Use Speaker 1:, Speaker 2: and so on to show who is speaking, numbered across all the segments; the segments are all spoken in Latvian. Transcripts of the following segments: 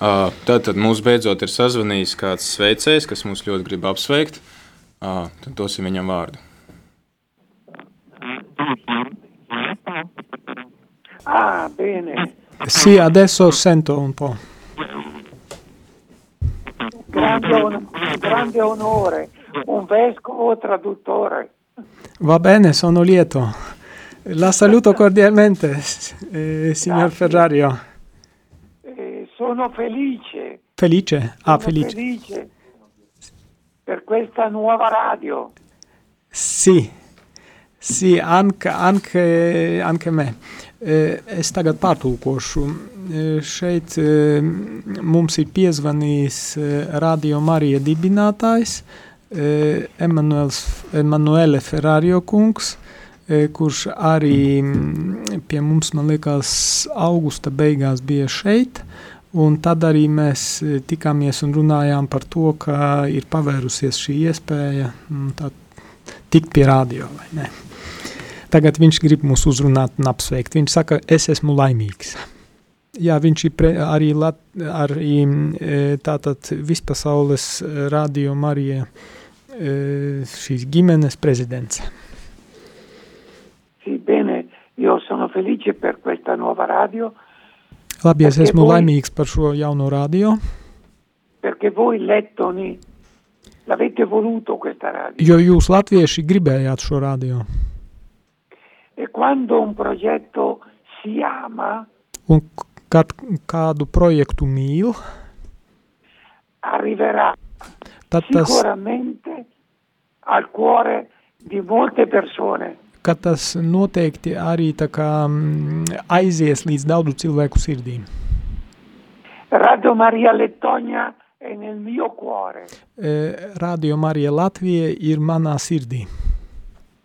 Speaker 1: Uh, tad, tad mums beidzot ir sazvanījis kāds sveicējs, kas mums ļoti grib apsveikt. Uh, tad dosim viņam vārdu.
Speaker 2: Ah, bene,
Speaker 3: Sì, adesso sento un po'.
Speaker 2: grande, on- grande onore, un vescovo traduttore.
Speaker 3: Va bene, sono lieto. La saluto cordialmente, s- eh, signor Ferrario.
Speaker 2: Eh, sono felice,
Speaker 3: Felice? Ah,
Speaker 2: sono
Speaker 3: felice.
Speaker 2: felice per questa nuova radio.
Speaker 3: Sì, sì, anche, anche, anche me. Eh, Es tagad pārtulkošu. Eh, Šeit eh, mums ir piezvanījis eh, Radio Marija dibinātājs eh, Emanuels- Emanuele Ferrario kungs, eh, kurš arī mm, pie mums, man liekas, augusta beigās bija šeit. Un tad arī mēs eh, tikāmies un runājām par to, ka ir pavērusies šī iespēja. un Tā tikt pie radio. vai ne? Tagad viņš grib mūs uzrunāt un apsveikt. Viņš saka, es esmu laimīgs. Jā, viņš ir pre, arī, lat, arī mm, e, tātad vispasaules e, radio Marija e, šīs ģimenes prezidents.
Speaker 2: Sì, bene, io sono felice per questa nuova radio
Speaker 3: Labi, es
Speaker 2: Ok,
Speaker 3: esmu
Speaker 2: boy.
Speaker 3: laimīgs par šo jauno radio,
Speaker 2: perché voi lettoni l'avete voluto questa radio.
Speaker 3: jo jūs latvieši gribējāt šo radio.
Speaker 2: E quando un progetto si ama,
Speaker 3: Un k- kad kādu projektu mīl,
Speaker 2: arriverà
Speaker 3: tad tas
Speaker 2: sicuramente al cuore di molte persone.
Speaker 3: ka tas noteikti arī tā kā, mm, aizies līdz daudzu cilvēku sirdīm.
Speaker 2: Radio Maria Lettonia è nel mio cuore
Speaker 3: E, Radio Marija Latvija ir manā sirdī.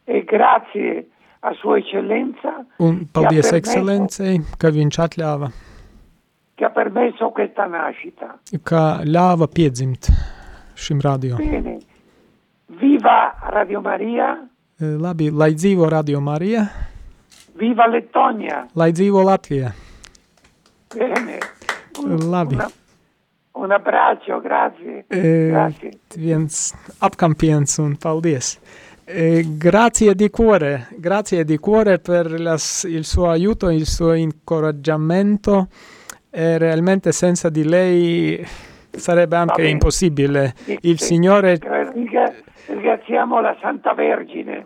Speaker 2: e grazie a Sua Eccellenza
Speaker 3: Un
Speaker 2: Jā,
Speaker 3: paldies
Speaker 2: perfekto.
Speaker 3: ekscelencei, ka viņš atļāva,
Speaker 2: che ha permesso questa nascita.
Speaker 3: ka ļāva piedzimt šim radio.
Speaker 2: Bene, viva Radio Maria,
Speaker 3: E, Labi, lai dzīvo Radio Marija,
Speaker 2: viva Lettonia.
Speaker 3: lai dzīvo Latvija.
Speaker 2: Bene,
Speaker 3: Labi,
Speaker 2: una- un abbraccio, grazie.
Speaker 3: E,
Speaker 2: grazie.
Speaker 3: viens apkampiens un paldies. E, grazie di cuore, grazie di cuore per las- il suo aiuto, il suo incoraggiamento. E realmente senza di lei sarebbe anche
Speaker 2: bene.
Speaker 3: impossibile.
Speaker 2: Sì,
Speaker 3: Il
Speaker 2: sì.
Speaker 3: Signore,
Speaker 2: Ringra- Ringraziamo la Santa Vergine.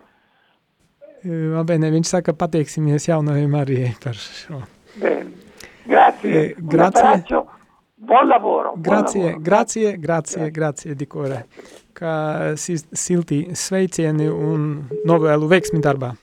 Speaker 3: eh, va bene, viņš saka, pateiksimies jaunajai Marijai par šo.
Speaker 2: Bene, grazie.
Speaker 3: Eh,
Speaker 2: Un
Speaker 3: grazie.
Speaker 2: abbraccio, buon lavoro. buon
Speaker 3: Grazie,
Speaker 2: lavoro.
Speaker 3: grazie, grazie, grazie di cuore. Kā sis- silti sveicieni un novēlu veiksmi darbā.